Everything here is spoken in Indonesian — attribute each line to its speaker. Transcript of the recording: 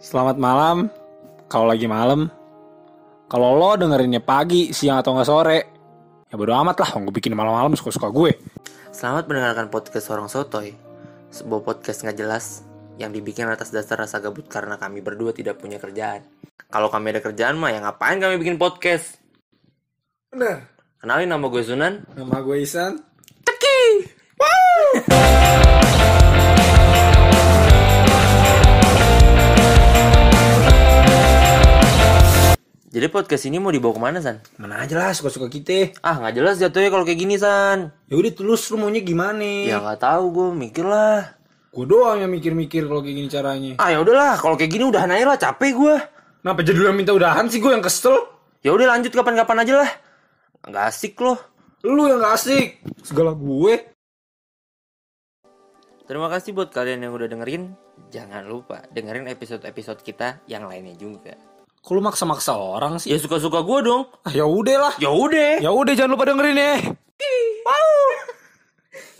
Speaker 1: Selamat malam, kalau lagi malam. Kalau lo dengerinnya pagi, siang atau nggak sore, ya bodo amat lah, gue bikin malam-malam suka-suka gue.
Speaker 2: Selamat mendengarkan podcast Orang Sotoy, sebuah podcast nggak jelas yang dibikin atas dasar rasa gabut karena kami berdua tidak punya kerjaan. Kalau kami ada kerjaan mah, ya ngapain kami bikin podcast?
Speaker 1: Bener.
Speaker 2: Kenalin nama gue Sunan.
Speaker 1: Nama gue Isan.
Speaker 2: Teki! Jadi podcast ini mau dibawa kemana, San?
Speaker 1: Mana aja lah, suka-suka kita.
Speaker 2: Ah, nggak jelas jatuhnya kalau kayak gini, San.
Speaker 1: Ya udah tulus, lo maunya gimana?
Speaker 2: Ya nggak tahu gue, mikir lah.
Speaker 1: Gue doang yang mikir-mikir kalau kayak gini caranya.
Speaker 2: Ah, ya udahlah, kalau kayak gini udahan aja lah, capek gue.
Speaker 1: Kenapa jadi lo yang minta udahan sih, gue yang kesel?
Speaker 2: Ya udah lanjut kapan-kapan aja lah. Nggak asik loh.
Speaker 1: Lu yang gak asik, segala gue.
Speaker 2: Terima kasih buat kalian yang udah dengerin. Jangan lupa dengerin episode-episode kita yang lainnya juga.
Speaker 1: Kok lu maksa-maksa orang sih?
Speaker 2: Ya suka-suka gue dong.
Speaker 1: Ah, Ya udah lah.
Speaker 2: Ya udah.
Speaker 1: Ya udah, jangan lupa dengerin ya.